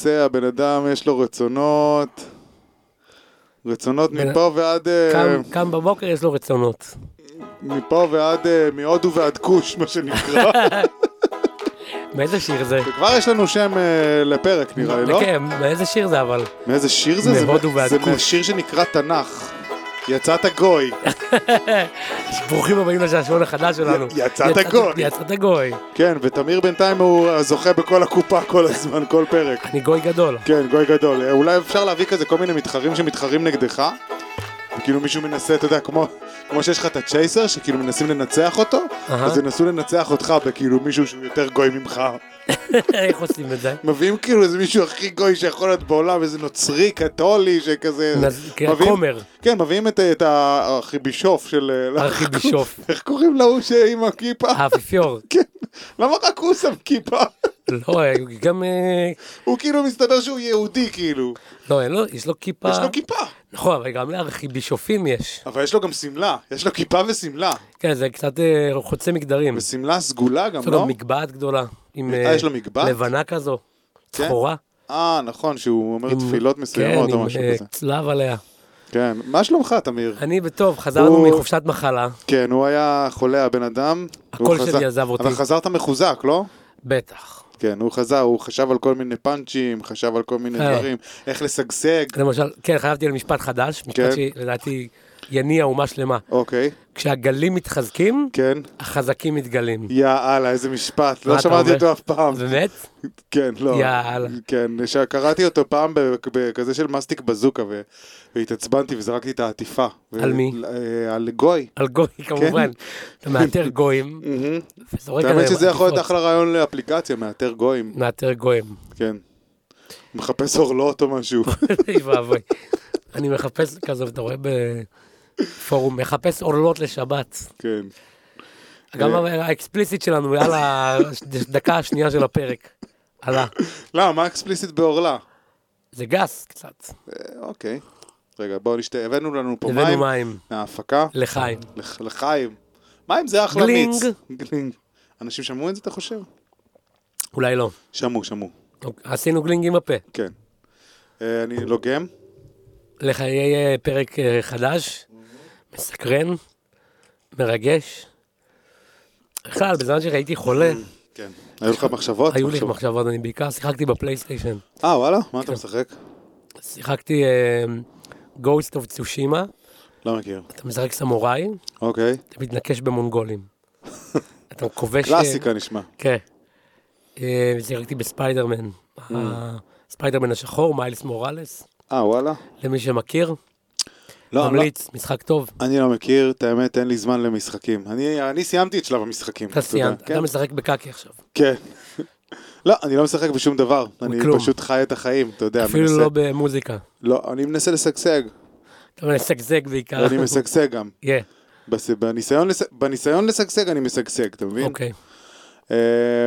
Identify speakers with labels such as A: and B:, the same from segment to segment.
A: רוצה, הבן אדם יש לו רצונות, רצונות
B: בן-
A: מפה ועד, אה,
B: קם- קם בבוקר, יש לו רצונות.
A: מפה ועד, אה, מהודו ועד כוש, מה שנקרא.
B: מאיזה שיר זה?
A: כבר יש לנו שם אה, לפרק נראה לי, לא?
B: כן, מאיזה שיר זה אבל?
A: מאיזה שיר זה? זה
B: מהודו
A: מה-
B: ועד
A: זה
B: כוש.
A: מהשיר שנקרא תנ"ך. יצאת גוי.
B: ברוכים הבאים לשעשועון החדש שלנו.
A: י- יצאת גוי.
B: יצאת גוי.
A: כן, ותמיר בינתיים הוא הזוכה בכל הקופה כל הזמן, כל פרק.
B: אני גוי גדול.
A: כן, גוי גדול. אה, אולי אפשר להביא כזה כל מיני מתחרים שמתחרים נגדך? וכאילו מישהו מנסה, אתה יודע, כמו, כמו שיש לך את הצ'ייסר, שכאילו מנסים לנצח אותו,
B: אהה.
A: אז ינסו לנצח אותך בכאילו מישהו שהוא יותר גוי ממך.
B: איך עושים את זה?
A: מביאים כאילו איזה מישהו הכי גוי שיכול להיות בעולם, איזה נוצרי, קתולי, שכזה...
B: נז- כן,
A: מביאים-
B: כומר.
A: כן, מביאים את, את הארכיבישוף של... אה, לא-
B: ארכיבישוף.
A: איך קוראים להוא שעם הכיפה?
B: האפיפיור.
A: כן. למה רק הוא שם כיפה?
B: לא, גם... אה,
A: הוא כאילו מסתבר שהוא יהודי כאילו.
B: לא, אין לו- יש לו כיפה.
A: יש לו כיפה.
B: נכון, אבל גם לארכיבישופים יש.
A: אבל יש לו גם שמלה. יש לו כיפה ושמלה.
B: כן, זה קצת אה, חוצה מגדרים.
A: ושמלה סגולה גם,
B: יש לו
A: לא?
B: גם מגבעת גדולה. עם,
A: אה, יש לו מגבעת?
B: לבנה כזו.
A: כן.
B: צחורה.
A: אה, נכון, שהוא אומר
B: עם-
A: תפילות מסוימות
B: כן,
A: או
B: עם
A: משהו
B: אה,
A: כזה.
B: צלב עליה.
A: כן, מה שלומך, תמיר?
B: אני בטוב, חזרנו
A: הוא-
B: מחופשת מחלה,
A: כן, הוא היה חולה, הבן אדם.
B: הקול
A: והוא חזר-
B: שלי עזב אותי.
A: אבל חזרת מחוזק, לא?
B: בטח.
A: כן, הוא חזר, הוא חשב על כל מיני פאנצ'ים, חשב על כל מיני
B: אה.
A: דברים, איך לשגשג.
B: למשל, כן, חייבתי על משפט חדש, משפט
A: כן.
B: שלדעתי יניע אומה שלמה.
A: אוקיי,
B: כשהגלים מתחזקים,
A: כן.
B: החזקים מתגלים.
A: יאללה, איזה משפט,
B: מה
A: לא
B: אתה
A: שמעתי
B: אומר?
A: אותו אף פעם.
B: באמת?
A: כן, לא.
B: יאללה.
A: כן, ש- קראתי אותו פעם ב- בכזה של מסטיק בזוקה, ו- והתעצבנתי וזרקתי את העטיפה. ו-
B: על מי?
A: אה, על גוי.
B: על גוי כמובן. אתה מאתר גויים,
A: כן. מהמם.
B: וזורק עליהם.
A: האמת שזה יכול להיות
B: עטיפות.
A: אחלה רעיון לאפליקציה, מאתר גויים,
B: מאתר גויים.
A: כן. מחפש אורלות או משהו.
B: אוי ואבוי. אני מחפש כזה, אתה רואה בפורום, מחפש עורלות לשבת.
A: כן.
B: גם
A: אה.
B: האקספליסיט שלנו, יאללה, דקה השנייה של הפרק. עלה.
A: למה, לא, מה אקספליסיט בעורלה?
B: זה גס קצת.
A: אה, אוקיי. רגע, בואו נשתה, הבאנו לנו פה מים.
B: הבאנו מים.
A: מההפקה.
B: לחיים.
A: לח- לחיים. מים זה אחלה
B: גלינג.
A: מיץ. גלינג. אנשים שמעו את זה, אתה חושב?
B: אולי לא.
A: שמעו, שמעו,
B: אוקיי, עשינו גלינג עם הפה.
A: כן. אה, אני לוגם.
B: לחיי אה, פרק אה, חדש,
A: Mm-hmm.
B: מסקרן, מרגש. בכלל, בזמן שהייתי חולה,
A: כן. היו לך מחשבות?
B: היו לי כן.
A: מחשבות.
B: מחשבות, אני בעיקר שיחקתי בפלייסטיישן.
A: אה, וואלה? מה אתה משחק?
B: שיחקתי אה, גוסט אוף צושימה,
A: לא מכיר.
B: אתה משחק סמוראי,
A: אוקיי.
B: אתה מתנקש במונגולים. אתה כובש... אה,
A: קלאסיקה נשמע.
B: כן. אה, שיחקתי בספיידרמן.
A: Mm.
B: ספיידרמן השחור, מיילס מוראלס,
A: אה, וואלה?
B: למי שמכיר,
A: לא,
B: ממליץ, משחק טוב.
A: אני לא מכיר, את האמת, אין לי זמן למשחקים. אני, אני סיימתי את שלב המשחקים.
B: אתה
A: יודע,
B: סיימת,
A: כן,
B: אתה משחק בקקי עכשיו.
A: כן. לא, אני לא משחק בשום דבר. אני
B: כלום.
A: פשוט חי את החיים, אתה יודע.
B: אפילו
A: מנסה-
B: לא במוזיקה.
A: לא, אני מנסה לשגשג,
B: אתה משגזג בעיקר.
A: ואני משגשג גם.
B: כן,
A: בס- בניסיון לש- בניסיון לשגשג אני משגשג, אתה מבין?
B: אוקיי.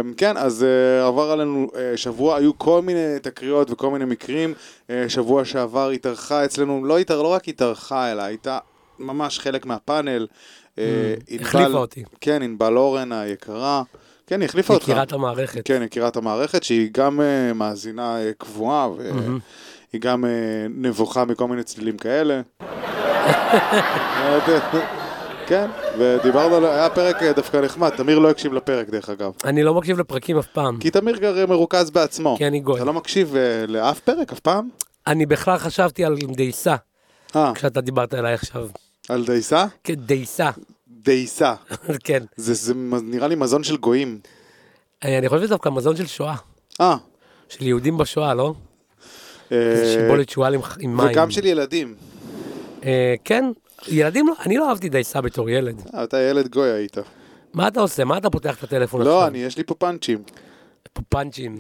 A: אמ, כן, אז אה, עבר עלינו אה, שבוע, היו כל מיני תקריות וכל מיני מקרים. אה, שבוע שעבר התארחה אצלנו, לא התאר- לא רק התארחה, אלא הייתה ממש חלק מהפאנל. אה, ענבל-
B: Mm, החליפה אותי.
A: כן, ענבל אורן היקרה. כן, היא החליפה אותך.
B: מכירת המערכת.
A: כן, יקירת המערכת, שהיא גם אה, מאזינה אה, קבועה, והיא גם אה, נבוכה מכל מיני צלילים כאלה. כן, ודיברנו, על- היה פרק אה, דווקא נחמד, תמיר לא הקשיב לפרק דרך אגב.
B: אני לא מקשיב לפרקים אף פעם.
A: כי תמיר גר אה, מרוכז בעצמו.
B: כי אני גוי.
A: אתה לא מקשיב אה, לאף פרק אף פעם?
B: אני בכלל חשבתי על דייסה,
A: אה,
B: כשאתה דיברת אליי עכשיו.
A: על דייסה?
B: כן, דייסה,
A: דייסה.
B: כן.
A: זה זה מ- נראה לי מזון של גויים.
B: אה, אני חושב שזה דווקא מזון של שואה.
A: אה.
B: של יהודים בשואה, לא?
A: אה,
B: זה שיבולת שועל עם ח- עם מים.
A: וגם של ילדים.
B: אה, כן. ילדים, לא- אני לא אהבתי דייסה בתור ילד.
A: אה, אתה ילד גוי היית.
B: מה אתה עושה? מה אתה פותח את הטלפון עכשיו?
A: לא, אני, יש לי פה פאנצ'ים.
B: פה פאנצ'ים.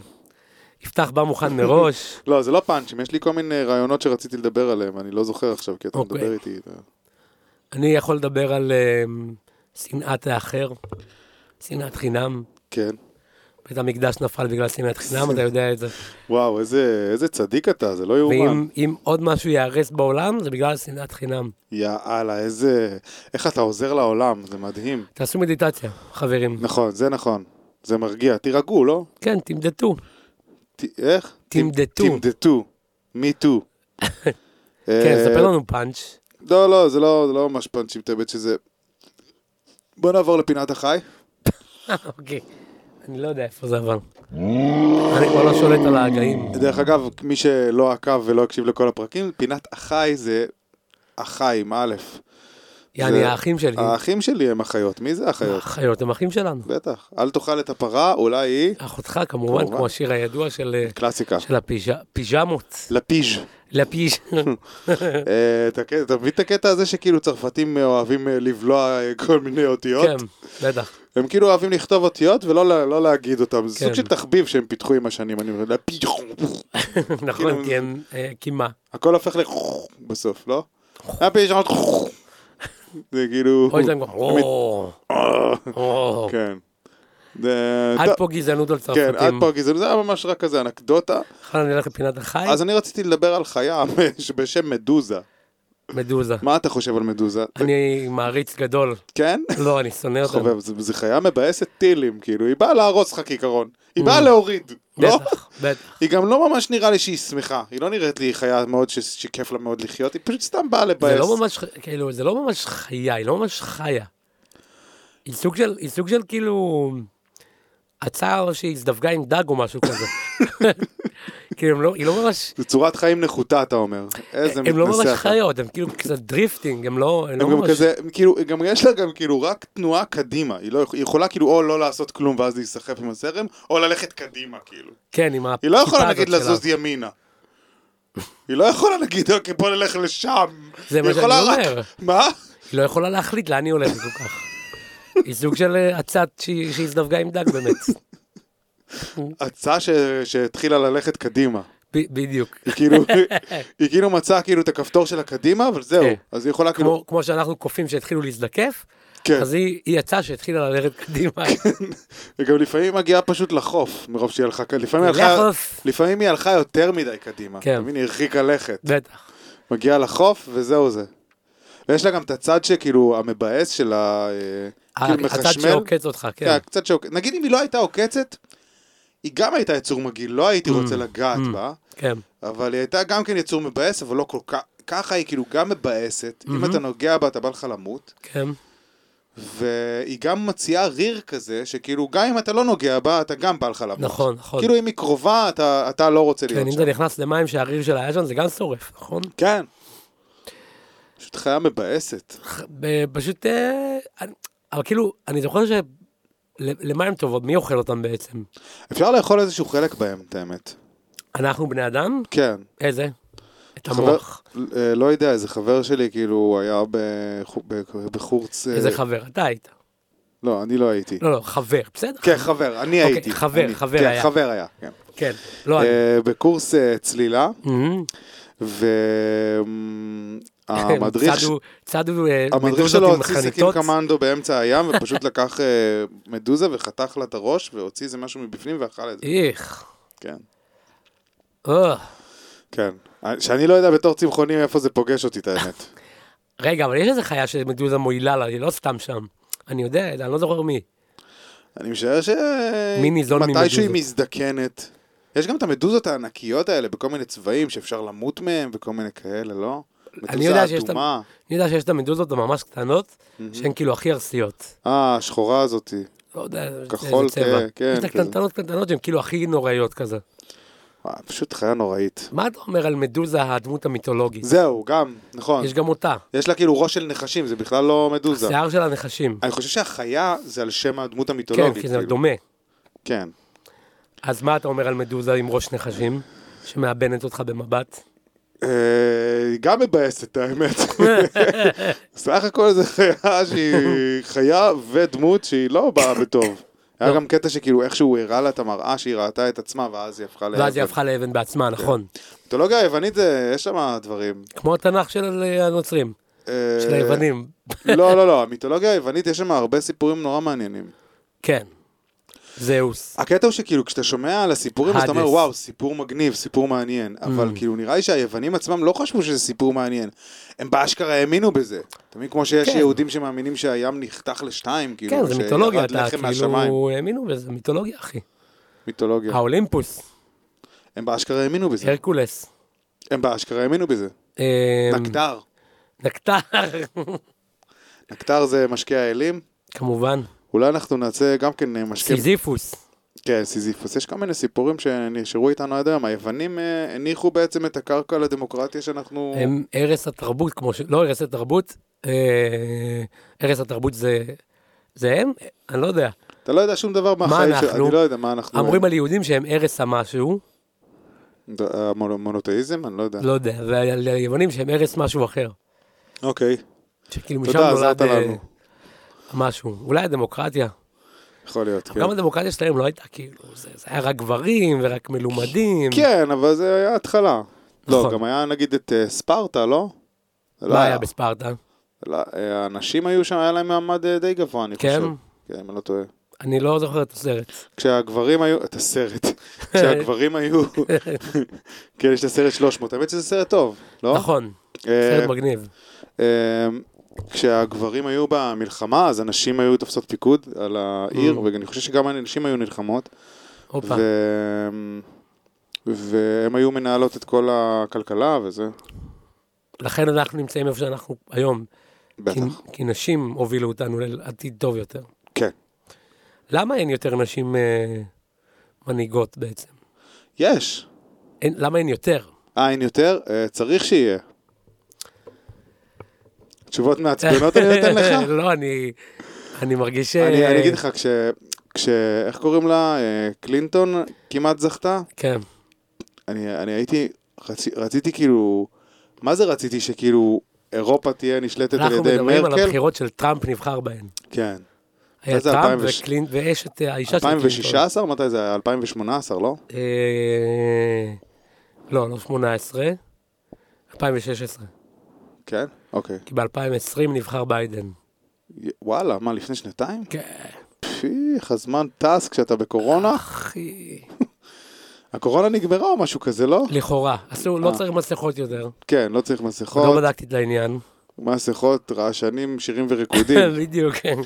B: יפתח בא מוכן מראש.
A: לא, זה לא פאנצ'ים, יש לי כל מיני אה, רעיונות שרציתי לדבר עליהם, אני לא זוכר עכשיו, כי אתה
B: אוקיי.
A: מדבר איתי. אה, אתה-
B: אני יכול לדבר על אה, שנאת האחר, שנאת חינם.
A: כן.
B: בית המקדש נפל בגלל שנאת חינם, אתה יודע את זה.
A: וואו, איזה איזה צדיק אתה, זה לא יאומן.
B: ואם אם עוד משהו ייהרס בעולם, זה בגלל שנאת חינם.
A: יאללה, איזה... איך אתה עוזר לעולם, זה מדהים.
B: תעשו מדיטציה, חברים.
A: נכון, זה נכון. זה מרגיע. תירגעו, לא?
B: כן, תמדטו.
A: ת- איך?
B: תמדטו.
A: תמדטו. מי טו.
B: כן, ספר לנו פאנץ'.
A: אה, לא, לא, זה לא זה לא ממש פאנצ'ים את ההיבט שזה... בוא נעבור לפינת החי.
B: אוקיי. אני לא יודע איפה זה אבל. אני כבר לא שולט על ההגאים.
A: דרך אגב, מי שלא עקב ולא הקשיב לכל הפרקים, פינת החי זה החיים, א'.
B: יעני,
A: זה-
B: האחים שלי.
A: האחים שלי הם אחיות. מי זה אחיות?
B: החיות הם אחים שלנו.
A: בטח. אל תאכל את הפרה, אולי היא...
B: אחותך כמובן,
A: כמובן.
B: כמו השיר הידוע של אה,
A: קלאסיקה.
B: של הפיג'- פיג'מות.
A: לפיז'.
B: לפיג'...
A: אה, את הקטע- אתה מבין את הקטע הזה שכאילו צרפתים אה, אוהבים אה, לבלוע אה, כל מיני אותיות?
B: כן, בטח.
A: הם כאילו אוהבים לכתוב אותיות ולא ל- לא להגיד אותם. זה
B: כן.
A: סוג של תחביב שהם פיתחו עם השנים, אני אומר, לפיז'.
B: נכון, כי הם... אה, כי מה?
A: הכל הופך ל... בסוף, לא? לפיז'. זה כאילו... אה,
B: אוי, זה הם גם... "או, או".
A: כן. זה-
B: עד
A: טוב,
B: פה גזענות על
A: כן, עד
B: צרפתים.
A: פה הגזענות, זה היה ממש רק כזה אנקדוטה.
B: בכלל אני אלך לפינת החי,
A: אז אני רציתי לדבר על חיה בשם מדוזה.
B: מדוזה.
A: מה אתה חושב על מדוזה?
B: אני מעריץ גדול.
A: כן?
B: לא, אני שונא אותם.
A: חובב, זה- זה חיה מבאסת טילים, כאילו, היא באה להרוס לך כעיקרון. היא באה להוריד, לא?
B: Mm. בטח, בטח.
A: היא גם לא ממש נראה לי שהיא שמחה. היא לא נראית לי חיה מאוד ש- שכיף לה מאוד לחיות, היא פשוט סתם באה
B: זה
A: לבאס.
B: לא ממש, ח- כאילו, זה לא ממש חיה, היא לא ממש חיה. היא סוג של, היא סוג של כאילו... הצער שהיא הזדווגה עם דג או משהו כזה. כאילו, הם לא- היא לא ממש...
A: זה צורת חיים נחותה, אתה אומר. איזה
B: הם לא ממש
A: מתנשא אתה.
B: חיות, הם כאילו קצת דריפטינג, הם לא הם
A: הם
B: לא
A: גם
B: ממש...
A: כזה, כאילו, גם יש לה גם כאילו רק תנועה קדימה, היא לא יכולה, היא יכולה כאילו או לא לעשות כלום ואז להיסחף עם הזרם, או ללכת קדימה, כאילו.
B: כן, עם
A: היא לא יכולה
B: הכיפה
A: נגיד
B: הזאת
A: לזוז ימינה. היא לא יכולה להגיד, אוקיי, בוא נלך לשם.
B: זה מה
A: היא יכולה
B: שאני
A: רק-
B: אומר.
A: מה?
B: שלה. היא לא יכולה להחליט לאן היא הולכת כל כך. היא סוג של אה, עצת שהיא שהיא הזדווגה עם דג באמת.
A: הצעה ש- שהתחילה ללכת קדימה.
B: ב- בדיוק.
A: היא כאילו, היא כאילו מצאה כאילו את הכפתור שלה קדימה, אבל זהו.
B: כן.
A: אז היא יכולה כאילו,
B: כמו- כמו שאנחנו קופים שהתחילו להזדקף,
A: כן.
B: אז היא היא עצה שהתחילה ללכת קדימה.
A: היא גם לפעמים מגיעה פשוט לחוף, מרוב שהיא הלכה, כ- לפעמים היא הלכה,
B: לחוף.
A: לפעמים היא הלכה יותר מדי קדימה.
B: כן.
A: אתה מבין, היא הרחיקה לכת.
B: בטח.
A: מגיעה לחוף, וזהו זה. ויש לה גם את הצד שכאילו, המבאס של ה... אה, כאילו
B: הצד
A: מחשמל.
B: שעוקץ אותך, כן.
A: כן, קצת שעוקץ. נגיד אם היא לא הייתה עוקצת, היא גם הייתה יצור מגעיל, לא הייתי
B: Mm,
A: רוצה לגעת בה,
B: כן.
A: אבל היא הייתה גם כן יצור מבאס, אבל לא כל כך... ככה היא כאילו גם מבאסת, אם
B: Mhm.
A: אתה נוגע בה אתה בא לך למות,
B: כן.
A: והיא גם מציעה ריר כזה, שכאילו גם אם אתה לא נוגע בה, אתה גם בא לך למות.
B: נכון, נכון.
A: כאילו אם היא קרובה, אתה, אתה לא רוצה
B: כן,
A: להיות
B: אם
A: שם.
B: זה נכנס למים שהריר שלה היה שם, זה גם שורף, נכון?
A: כן. פשוט חיה מבאסת.
B: ב- פשוט, אה, אני- אבל כאילו, אני זוכר ש... ל- למה הם טובות? מי אוכל אותם בעצם?
A: אפשר לאכול איזשהו חלק בהם, את האמת.
B: אנחנו בני אדם?
A: כן.
B: איזה? את
A: חבר-
B: המוח.
A: אה, לא יודע, איזה חבר שלי, כאילו, הוא היה בחו- ב- בחורץ... אה,
B: איזה חבר? אתה היית.
A: לא, אני לא הייתי.
B: לא, לא, חבר, בסדר?
A: כן, חבר, אני
B: אוקיי,
A: הייתי.
B: חבר,
A: אני-
B: חבר
A: כן,
B: היה.
A: חבר היה, כן.
B: כן, לא אני.
A: אה, בקורס אה, צלילה, אמ,
B: מהמם. כן,
A: והמדריך...
B: צדו- צדו אה,
A: המדריך
B: מדוזות
A: שלו
B: עם
A: הוציא סכין
B: חניתות.
A: קמנדו באמצע הים, ופשוט לקח אה, מדוזה וחתך לה את הראש, והוציא איזה משהו מבפנים ואכל את זה.
B: איך.
A: כן,
B: אה.
A: כן. שאני לא יודע בתור צמחוני איפה זה פוגש אותי, את האמת.
B: רגע, אבל יש איזה חיה שמדוזה מועילה לה, היא לא סתם שם. אני יודע, אני לא זוכר מי.
A: אני משער ש...
B: מי ניזון
A: מתישהו היא
B: ממדוזות?
A: מזדקנת. יש גם את המדוזות הענקיות האלה בכל מיני צבעים שאפשר למות מהם וכל מיני כאלה, לא?
B: אני יודע שיש את
A: מדוזה אדומה.
B: אני יודע שיש את המדוזות הממש קטנות, שהן כאילו הכי ארסיות.
A: אה, השחורה הזאתי.
B: לא יודע, זה
A: כחול,
B: צבע.
A: כן, כן,
B: יש את
A: כזה.
B: הקטנטנות קטנטנות שהן כאילו הכי נוראיות כזה.
A: וואי, אה, פשוט חיה נוראית.
B: מה אתה אומר על מדוזה הדמות המיתולוגית?
A: זהו, גם, נכון.
B: יש גם אותה,
A: יש לה כאילו ראש של נחשים, זה בכלל לא מדוזה.
B: שיער של הנחשים.
A: אני חושב שהחיה זה על שם הדמות
B: כן,
A: המיתולוגית.
B: כי זה
A: כאילו.
B: דומה.
A: כן.
B: אז מה אתה אומר על מדוזה עם ראש נחשים, שמאבנת אותך במבט?
A: אה, היא גם מבאסת, האמת. סך הכל זה חיה שהיא חיה ודמות שהיא לא באה בטוב. היה
B: לא.
A: גם קטע שכאילו איכשהו הוא הראה לה את המראה שהיא ראתה את עצמה ואז היא הפכה ל...
B: ואז היא הפכה לאבן בעצמה,
A: כן.
B: נכון.
A: מיתולוגיה היוונית זה, יש שם דברים.
B: כמו התנ"ך של אה, הנוצרים,
A: אה,
B: של היוונים.
A: לא, לא, לא, המיתולוגיה היוונית יש שם הרבה סיפורים נורא מעניינים.
B: כן. זהוס.
A: הקטע הוא שכאילו כשאתה שומע על הסיפורים, אז אתה אומר
B: האדס.
A: וואו, סיפור מגניב, סיפור מעניין.
B: Mm.
A: אבל כאילו נראה לי שהיוונים עצמם לא חשבו שזה סיפור מעניין. הם באשכרה האמינו בזה. אתה מבין? כמו שיש
B: כן.
A: יהודים שמאמינים שהים נחתך לשתיים, כאילו.
B: כן, זה
A: שירד
B: מיתולוגיה,
A: לחם
B: אתה
A: מהשמיים.
B: כאילו האמינו בזה, מיתולוגיה, אחי.
A: מיתולוגיה.
B: האולימפוס.
A: הם באשכרה האמינו בזה.
B: הרקולס.
A: הם באשכרה האמינו בזה.
B: אה,
A: נקטר.
B: נקטר.
A: נקטר זה משקה האלים.
B: כמובן.
A: אולי אנחנו נעשה גם כן אה, משקה...
B: סיזיפוס.
A: כן, סיזיפוס. יש כל מיני סיפורים שנשארו איתנו עד היום. היוונים אה, הניחו בעצם את הקרקע לדמוקרטיה שאנחנו...
B: הם ערש התרבות, כמו ש... לא ערש התרבות, אה, ערש התרבות זה... זה הם? אני לא יודע.
A: אתה לא יודע שום דבר מהחיים של...
B: אנחנו?
A: אני לא יודע מה אנחנו...
B: אומרים על יהודים שהם ערש המשהו,
A: המונותאיזם? אה, אני לא יודע.
B: לא יודע, ועל יוונים שהם ערש משהו אחר.
A: אוקיי,
B: שכאילו משם
A: תודה,
B: נולד
A: עזרת
B: אה,
A: לנו.
B: משהו. אולי הדמוקרטיה.
A: יכול להיות, כן.
B: גם הדמוקרטיה שלהם לא הייתה כאילו, זה זה היה רק גברים ורק מלומדים.
A: כן, אבל זה היה התחלה. לא,
B: נכון.
A: גם היה נגיד את אה, ספרטה, לא? זה
B: מה היה בספרטה?
A: לא, אה, הנשים היו שם, היה להם מעמד אה, די גבוה, אני
B: כן?
A: חושב. כן, אם אני לא טועה.
B: אני לא זוכר את הסרט.
A: כשהגברים היו, את הסרט, כשהגברים היו, כן, יש את הסרט 300, האמת שזה סרט טוב, לא?
B: נכון,
A: אה,
B: סרט מגניב.
A: אה, כשהגברים היו במלחמה, אז הנשים היו תופסות פיקוד על העיר,
B: Mm.
A: ואני חושב שגם הנשים היו נלחמות,
B: הופה.
A: ו- והן היו מנהלות את כל הכלכלה וזה,
B: לכן אנחנו נמצאים איפה שאנחנו היום. כי,
A: בטח.
B: כי נשים הובילו אותנו לעתיד טוב יותר.
A: כן.
B: למה אין יותר נשים אה, מנהיגות בעצם?
A: יש.
B: אין, למה אין יותר?
A: אה, אין יותר? אה, צריך שיהיה. תשובות מעצבנות אני נותן לך?
B: לא, אני, אני מרגיש אה, ש...
A: אני אני אגיד לך, כש... כש... איך קוראים לה? אה, קלינטון כמעט זכתה?
B: כן,
A: אני, אני הייתי... רצי, רציתי כאילו... מה זה רציתי? שכאילו אירופה תהיה נשלטת על
B: אנחנו
A: ידי
B: מדברים על
A: מרקל?
B: הבחירות של טראמפ נבחר בהן.
A: כן.
B: היה
A: זה
B: טראמפ
A: 2006?
B: וקלינט, ויש את אה, האישה של קלינטון.
A: 2016? מתי זה היה? 2018, לא?
B: אה, לא, לא 18, 2016.
A: כן? אוקיי.
B: כי ב-2020 נבחר ביידן.
A: י- וואלה, מה, לפני שנתיים?
B: כן,
A: פיך, הזמן טס כשאתה בקורונה?
B: אחי.
A: הקורונה נגמרה או משהו כזה, לא?
B: לכאורה. אסור, לא
A: אה.
B: צריך מסכות יותר.
A: כן, לא צריך
B: לא
A: מסכות.
B: בדקתי את העניין.
A: מסכות, רעשנים, שירים וריקודים.
B: בדיוק, כן.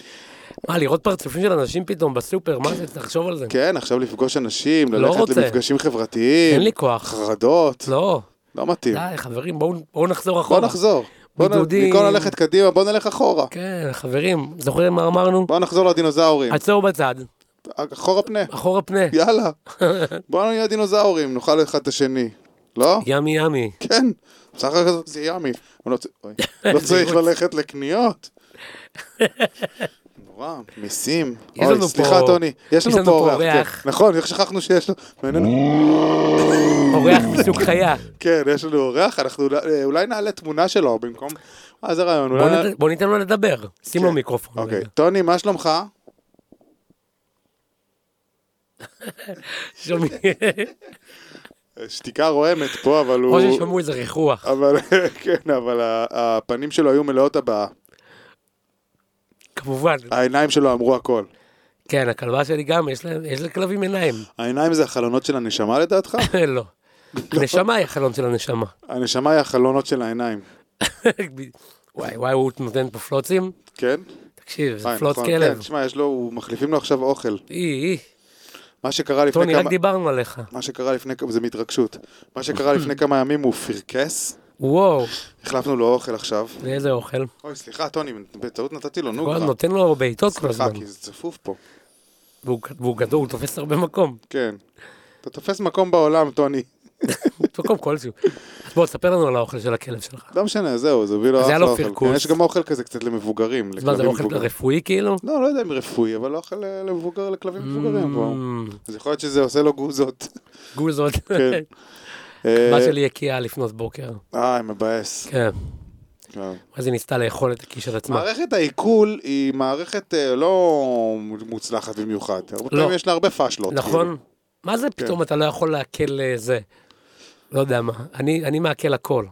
B: מה, לראות פרצופים של אנשים פתאום בסופר, מה זה, תחשוב על זה.
A: כן, עכשיו לפגוש אנשים,
B: לא
A: ללכת
B: רוצה.
A: למפגשים חברתיים.
B: אין לי כוח.
A: חרדות,
B: לא.
A: לא מתאים.
B: די, חברים, בואו- בואו נחזור
A: בוא
B: אחורה.
A: נחזור. בוא נ-
B: בידודים.
A: במקום ללכת קדימה, בוא נלך אחורה.
B: כן, חברים, זוכרים מה אמרנו?
A: בוא נחזור לדינוזאורים.
B: עצור בצד,
A: אחורה פנה.
B: אחורה פנה.
A: יאללה. בוא נהיה דינוזאורים, נאכל אחד את השני. לא?
B: ימי ימי.
A: כן. בסך הכל זה ימי. אבל לא צ- אוי. לא צריך ללכת לקניות. נורא, מיסים.
B: יש לנו
A: אוי,
B: פה-
A: סליחה, טוני. יש לנו פה אורח.
B: אורח.
A: כן. נכון, איך שכחנו שיש לו. ואיננו-
B: אורח מסוג חיה.
A: כן, יש לנו אורח, אנחנו אה, אולי נעלה תמונה שלו במקום... אה, זה רעיון,
B: בוא
A: אולי... נעלה-
B: ניתן- בוא ניתן לו לדבר. שים לו מיקרופון.
A: אוקיי,
B: רגע.
A: טוני, מה שלומך?
B: שומעים-
A: שתיקה רועמת פה, אבל
B: כמו
A: הוא...
B: ששמעו איזה ריחוח.
A: אבל, כן, אבל ה- הפנים שלו היו מלאות הבעה.
B: כמובן.
A: העיניים שלו אמרו הכל.
B: כן, הכלבה שלי גם, יש להם- יש לכלבים עיניים.
A: העיניים זה החלונות של הנשמה לדעתך?
B: לא. הנשמה היא החלום של הנשמה.
A: הנשמה היא החלונות של העיניים.
B: וואי וואי, הוא נותן פה פלוצים?
A: כן?
B: תקשיב, זה
A: חיים,
B: פלוץ
A: נכון.
B: כלב.
A: כן, תשמע, יש לו, הוא מחליפים לו עכשיו אוכל.
B: אי, אי,
A: מה שקרה לפני
B: טוני, רק
A: כמה...
B: דיברנו עליך.
A: מה שקרה לפני כמה... זה מהתרגשות. מה שקרה לפני כמה ימים הוא פרקס.
B: וואו,
A: החלפנו לו אוכל עכשיו.
B: לאיזה אוכל.
A: אוי, סליחה, טוני, בטעות נתתי לו, נו
B: הוא
A: כבר.
B: נותן לו בעיטות כל
A: סליחה,
B: הזמן.
A: כי זה צפוף פה.
B: והוא והוא גדול, הוא תופס הרבה מקום.
A: כן. אתה תופס מקום בעולם, טוני.
B: מקום כלשהו. אז בוא, תספר לנו על האוכל של הכלב שלך.
A: לא משנה, זהו, זה הביא לו
B: אז היה
A: אחלה
B: לו
A: אוכל.
B: פרכוס.
A: כן, יש גם אוכל כזה קצת למבוגרים.
B: אז מה, זה
A: לכלבים
B: אוכל
A: מבוגרים.
B: רפואי כאילו?
A: לא, לא יודע אם רפואי, אבל אוכל אה, למבוגר, לכלבים מבוגרים כבר.
B: Mm,
A: אז יכול להיות שזה עושה לו גוזות.
B: גוזות.
A: כן.
B: בת
A: אה,
B: שלי הקיאה לפנות בוקר.
A: אה, מבאס.
B: כן.
A: כן.
B: אז היא ניסתה לאכול את הכי של עצמה.
A: מערכת העיכול היא מערכת אה, לא מוצלחת במיוחד. הרבה
B: לא.
A: פעמים יש לה הרבה כאילו. פאשלות.
B: נכון? מה זה פתאום אתה לא יכול לעכל אה, זה? לא יודע מה. אני אני מעכל הכל.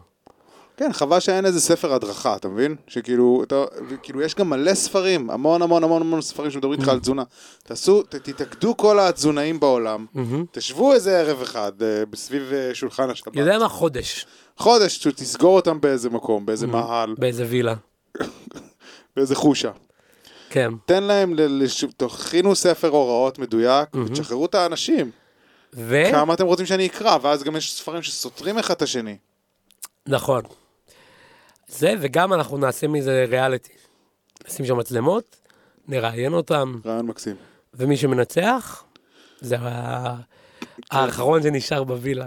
A: כן, חבל שאין איזה ספר הדרכה, אתה מבין? שכאילו, אתה, כאילו, יש גם מלא ספרים, המון המון המון המון ספרים שמדברים
B: Mm.
A: איתך על תזונה. תעשו, ת, תתאגדו כל התזונאים בעולם,
B: מהמם.
A: תשבו איזה ערב אחד אה, סביב אה, שולחן השבת.
B: יודע מה? חודש.
A: חודש, ת- תסגור אותם באיזה מקום,
B: Mm.
A: באיזה מאהל,
B: באיזה וילה.
A: באיזה חושה.
B: כן. כן.
A: תן להם, ל- לש- תכינו ספר הוראות מדויק, ותשחררו את האנשים.
B: ו...
A: כמה אתם רוצים שאני אקרא, ואז גם יש ספרים שסותרים אחד את השני.
B: נכון. זה, וגם אנחנו נעשה מזה ריאליטי. נשים שם מצלמות, נראיין אותם,
A: רעיון מקסים.
B: ומי שמנצח, זה ה- האחרון שנשאר בווילה.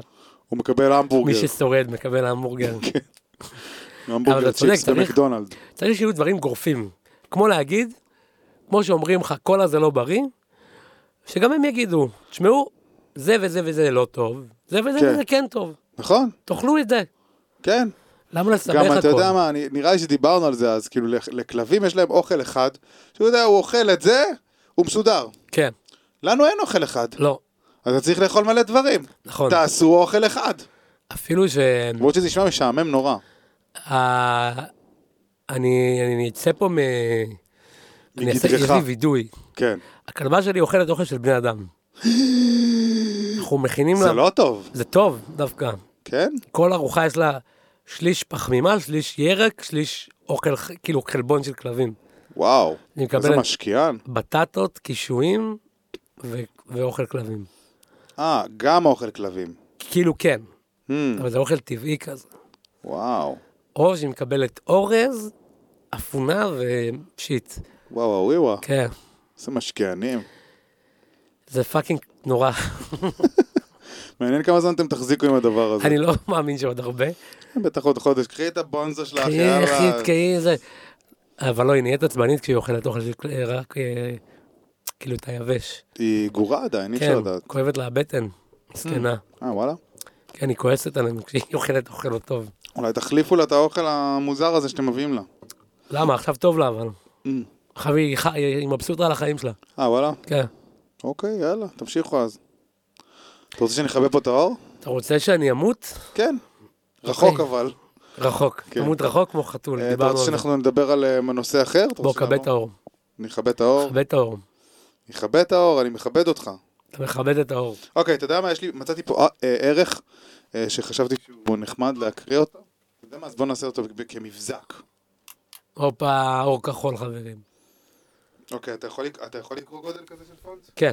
A: הוא מקבל המבורגר.
B: מי ששורד מקבל המבורגר. אבל
A: המבורגר
B: אתה צודק,
A: צ'יפס
B: צריך-
A: במקדונלד.
B: צריך שיהיו דברים גורפים. כמו להגיד, כמו שאומרים לך, קולה זה לא בריא, שגם הם יגידו, תשמעו, זה וזה וזה לא טוב, זה וזה
A: כן.
B: וזה כן טוב,
A: נכון,
B: תאכלו את זה.
A: כן.
B: למה לסבך הכל?
A: גם אתה יודע מה, אני- נראה לי שדיברנו על זה אז, כאילו לכ- לכלבים יש להם אוכל אחד, שהוא יודע, הוא אוכל את זה, הוא מסודר.
B: כן,
A: לנו אין אוכל אחד,
B: לא,
A: אז אתה צריך לאכול מלא דברים.
B: נכון.
A: תעשו אוכל אחד.
B: אפילו ש...
A: למרות שזה נשמע משעמם נורא.
B: ה- אני אני אצא פה מ... אני אעשה, יש
A: מגדרך.
B: לי וידוי.
A: כן.
B: הכלבה שלי אוכלת אוכל של בני אדם. אנחנו מכינים לה...
A: זה לא טוב,
B: זה טוב, דווקא.
A: כן?
B: כל ארוחה יש לה שליש פחמימה, שליש ירק, שליש אוכל, ח- כאילו חלבון של כלבים.
A: וואו.
B: אני מקבל
A: איזה משקיען.
B: בטטות, קישואים ו- ואוכל כלבים.
A: אה, גם אוכל כלבים.
B: כאילו כן,
A: Hmm,
B: אבל זה אוכל טבעי כזה.
A: וואו.
B: או שהיא מקבלת אורז, אפונה ושיט.
A: וואו, וואו, וואו.
B: כן,
A: איזה משקיענים.
B: זה פאקינג נורא.
A: מעניין כמה זמן אתם תחזיקו עם הדבר הזה. אה,
B: אני לא מאמין שעוד הרבה.
A: בטח עוד חודש. קחי את הבונזה שלך,
B: תהיה
A: יאללה.
B: יחית, תהיה זה. אבל לא, היא נהיית עצבנית כשהיא אוכלת אוכל של כל- רק אה, כאילו את היבש.
A: היא גורה עדיין, אי
B: כן,
A: אפשר לדעת.
B: כואבת לה הבטן, מסכנה.
A: אה, וואלה?
B: כן, היא כועסת עלינו כשהיא אוכלת אוכל לא טוב.
A: אולי תחליפו לה את האוכל המוזר הזה שאתם מביאים לה.
B: למה? עכשיו טוב לה, אבל.
A: Mm.
B: עכשיו היא חי- היא מבסוטה על החיים שלה.
A: אה, וואלה?
B: כן.
A: אוקיי, יאללה, תמשיכו אז. אתה רוצה שאני אכבה פה את האור?
B: אתה רוצה שאני אמות?
A: כן. רחוק
B: אוקיי.
A: אבל.
B: רחוק.
A: כן.
B: אמות רחוק כמו חתול,
A: אה, אתה
B: דיברנו
A: רוצה
B: על זה.
A: שאנחנו נדבר על אה, נושא אחר? אתה
B: בוא,
A: רוצה
B: כבה את
A: שנעבור?
B: האור.
A: אני אכבה את האור.
B: כבה את האור.
A: נכבד את האור, אני מכבד אותך.
B: אתה מכבד את האור.
A: אוקיי, אתה יודע מה יש לי? מצאתי פה אה, אה, ערך אה, שחשבתי שהוא נחמד להקריא אותו. אתה יודע מה? אז בוא נעשה אותו ב- כמבזק.
B: הופה, אור כחול, חברים.
A: אוקיי, אתה יכול לק- אתה יכול לקרוא גודל כזה של פונט?
B: כן.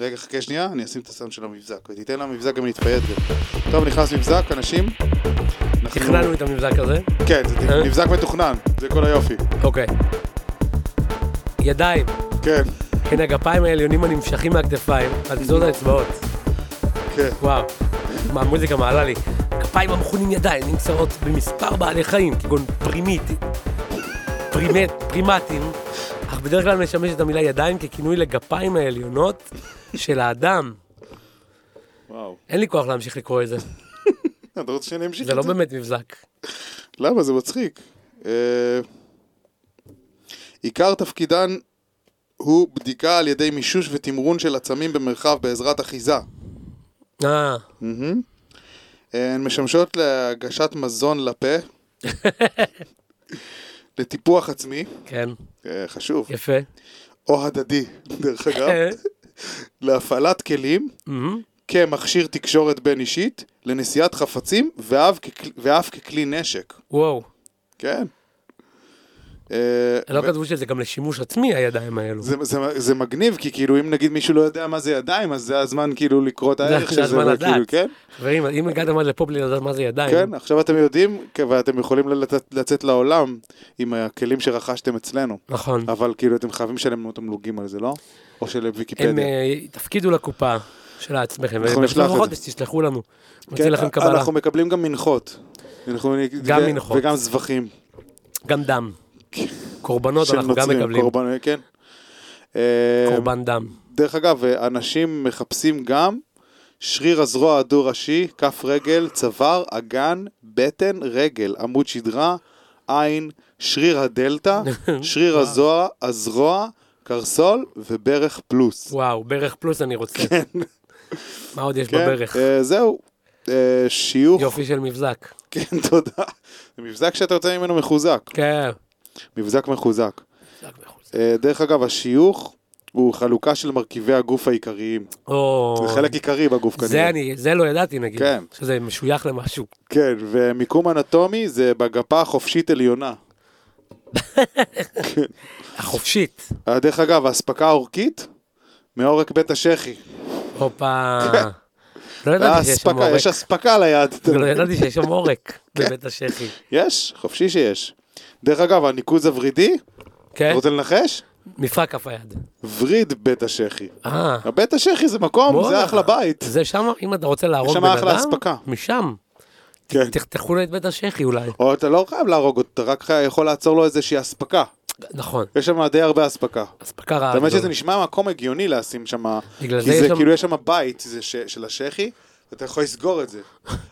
A: רגע, חכה שנייה, אני אשים את הסאונד של המבזק. ותיתן למבזק גם להתפייט גם. טוב, נכנס מבזק, אנשים. אנחנו-
B: תכננו את המבזק הזה.
A: כן, זה
B: אה?
A: מבזק מתוכנן, זה כל היופי.
B: אוקיי. ידיים.
A: כן,
B: הנה הגפיים העליונים הנמשכים מהכתפיים, עד גזוז האצבעות.
A: כן.
B: וואו, מה המוזיקה מעלה לי. כפיים המכונים ידיים נמצאות במספר בעלי חיים, כגון פרימית, פרימט, פרימטים, אך בדרך כלל משמש את המילה ידיים ככינוי לגפיים העליונות של האדם.
A: וואו.
B: אין לי כוח להמשיך לקרוא את זה,
A: אתה רוצה שאני אמשיך
B: זה
A: את
B: לא
A: זה?
B: באמת מבזק.
A: למה? זה מצחיק. אה, עיקר תפקידן הוא בדיקה על ידי מישוש ותמרון של עצמים במרחב בעזרת אחיזה.
B: אה,
A: מהמם. אה, הן משמשות להגשת מזון לפה, לטיפוח עצמי,
B: כן,
A: אה, חשוב,
B: יפה.
A: או הדדי, דרך אגב,
B: אה,
A: להפעלת כלים,
B: מהמם.
A: כמכשיר תקשורת בין אישית, לנשיאת חפצים, ואף ככלי- ואף ככלי נשק.
B: וואו,
A: כן. אה,
B: לא
A: ו-
B: כתבו שזה גם לשימוש עצמי, הידיים האלו.
A: זה, זה, זה מגניב, כי כאילו אם נגיד מישהו לא יודע מה זה ידיים, אז זה הזמן כאילו לקרוא את הערך
B: זה
A: של
B: הזמן
A: וכאילו,
B: לדעת. אה.
A: כן?
B: חברים, אם הגעתם עד לפה בלי לדעת מה זה ידיים,
A: כן, עכשיו אתם יודעים, כ- ואתם יכולים לצאת, לצאת לעולם עם הכלים שרכשתם אצלנו.
B: נכון.
A: אבל כאילו אתם חייבים לשלם לנו תמלוגים על זה, לא? או של
B: הם
A: ויקיפדיה.
B: אה, תפקידו לקופה של עצמכם,
A: כן. אנחנו נשלח את זה.
B: ובחודש תשלחו לנו. נוציא לכם
A: אה,
B: קבלה,
A: אנחנו מקבלים גם מנחות. אנחנו נ-
B: גם
A: ו-
B: מנחות.
A: וגם זבחים.
B: גם דם. קורבנות
A: של
B: אנחנו גם
A: נוצרים,
B: מקבלים,
A: קורבן, כן. אה,
B: קורבן דם.
A: דרך אגב, אנשים מחפשים גם שריר הזרוע הדו-ראשי, כף רגל, צוואר, אגן, בטן, רגל, עמוד שדרה, עין, שריר הדלתא, שריר הזרוע, הזרוע, קרסול וברך פלוס.
B: וואו, ברך פלוס אני רוצה. מה עוד יש
A: כן?
B: בברך?
A: אה, זהו. אה, שיוך,
B: יופי של מבזק.
A: כן, תודה. זה מבזק שאתה יוצא ממנו מחוזק.
B: כן.
A: מבזק מחוזק.
B: מבזק מחוזק.
A: אה, דרך אגב, השיוך הוא חלוקה של מרכיבי הגוף העיקריים.
B: או,
A: זה חלק עיקרי בגוף כנראה.
B: זה אני, זה לא ידעתי נגיד,
A: כן.
B: שזה משוייך למשהו.
A: כן, ומיקום אנטומי זה בגפה החופשית עליונה.
B: החופשית.
A: אה, דרך אגב, האספקה האורכית, מעורק בית השחי.
B: הופה. לא ידעתי שיש שם
A: אה, אספקה,
B: עורק.
A: יש אספקה על היד.
B: לא ידעתי שיש שם עורק בבית השחי.
A: יש, חופשי שיש. דרך אגב, הניקוז הוורידי,
B: כן?
A: אתה רוצה לנחש?
B: מפרק כף היד.
A: וריד בית השחי.
B: אה.
A: הבית השחי זה מקום,
B: בואנה.
A: זה אחלה בית.
B: זה שם, אם אתה רוצה להרוג
A: שם
B: בן
A: אחלה
B: אדם,
A: אספקה.
B: משם.
A: כן.
B: תחתכו לו את בית השחי אולי.
A: או אתה לא חייב להרוג אותו, אתה רק יכול לעצור לו איזושהי אספקה.
B: נכון,
A: יש שם די הרבה אספקה.
B: אספקה רעה.
A: האמת
B: גדולה.
A: שזה נשמע מקום הגיוני לשים שם,
B: בגלל
A: כי
B: זה יש
A: זה
B: שם-
A: כאילו יש שם בית זה ש- של השחי, אתה יכול לסגור את זה.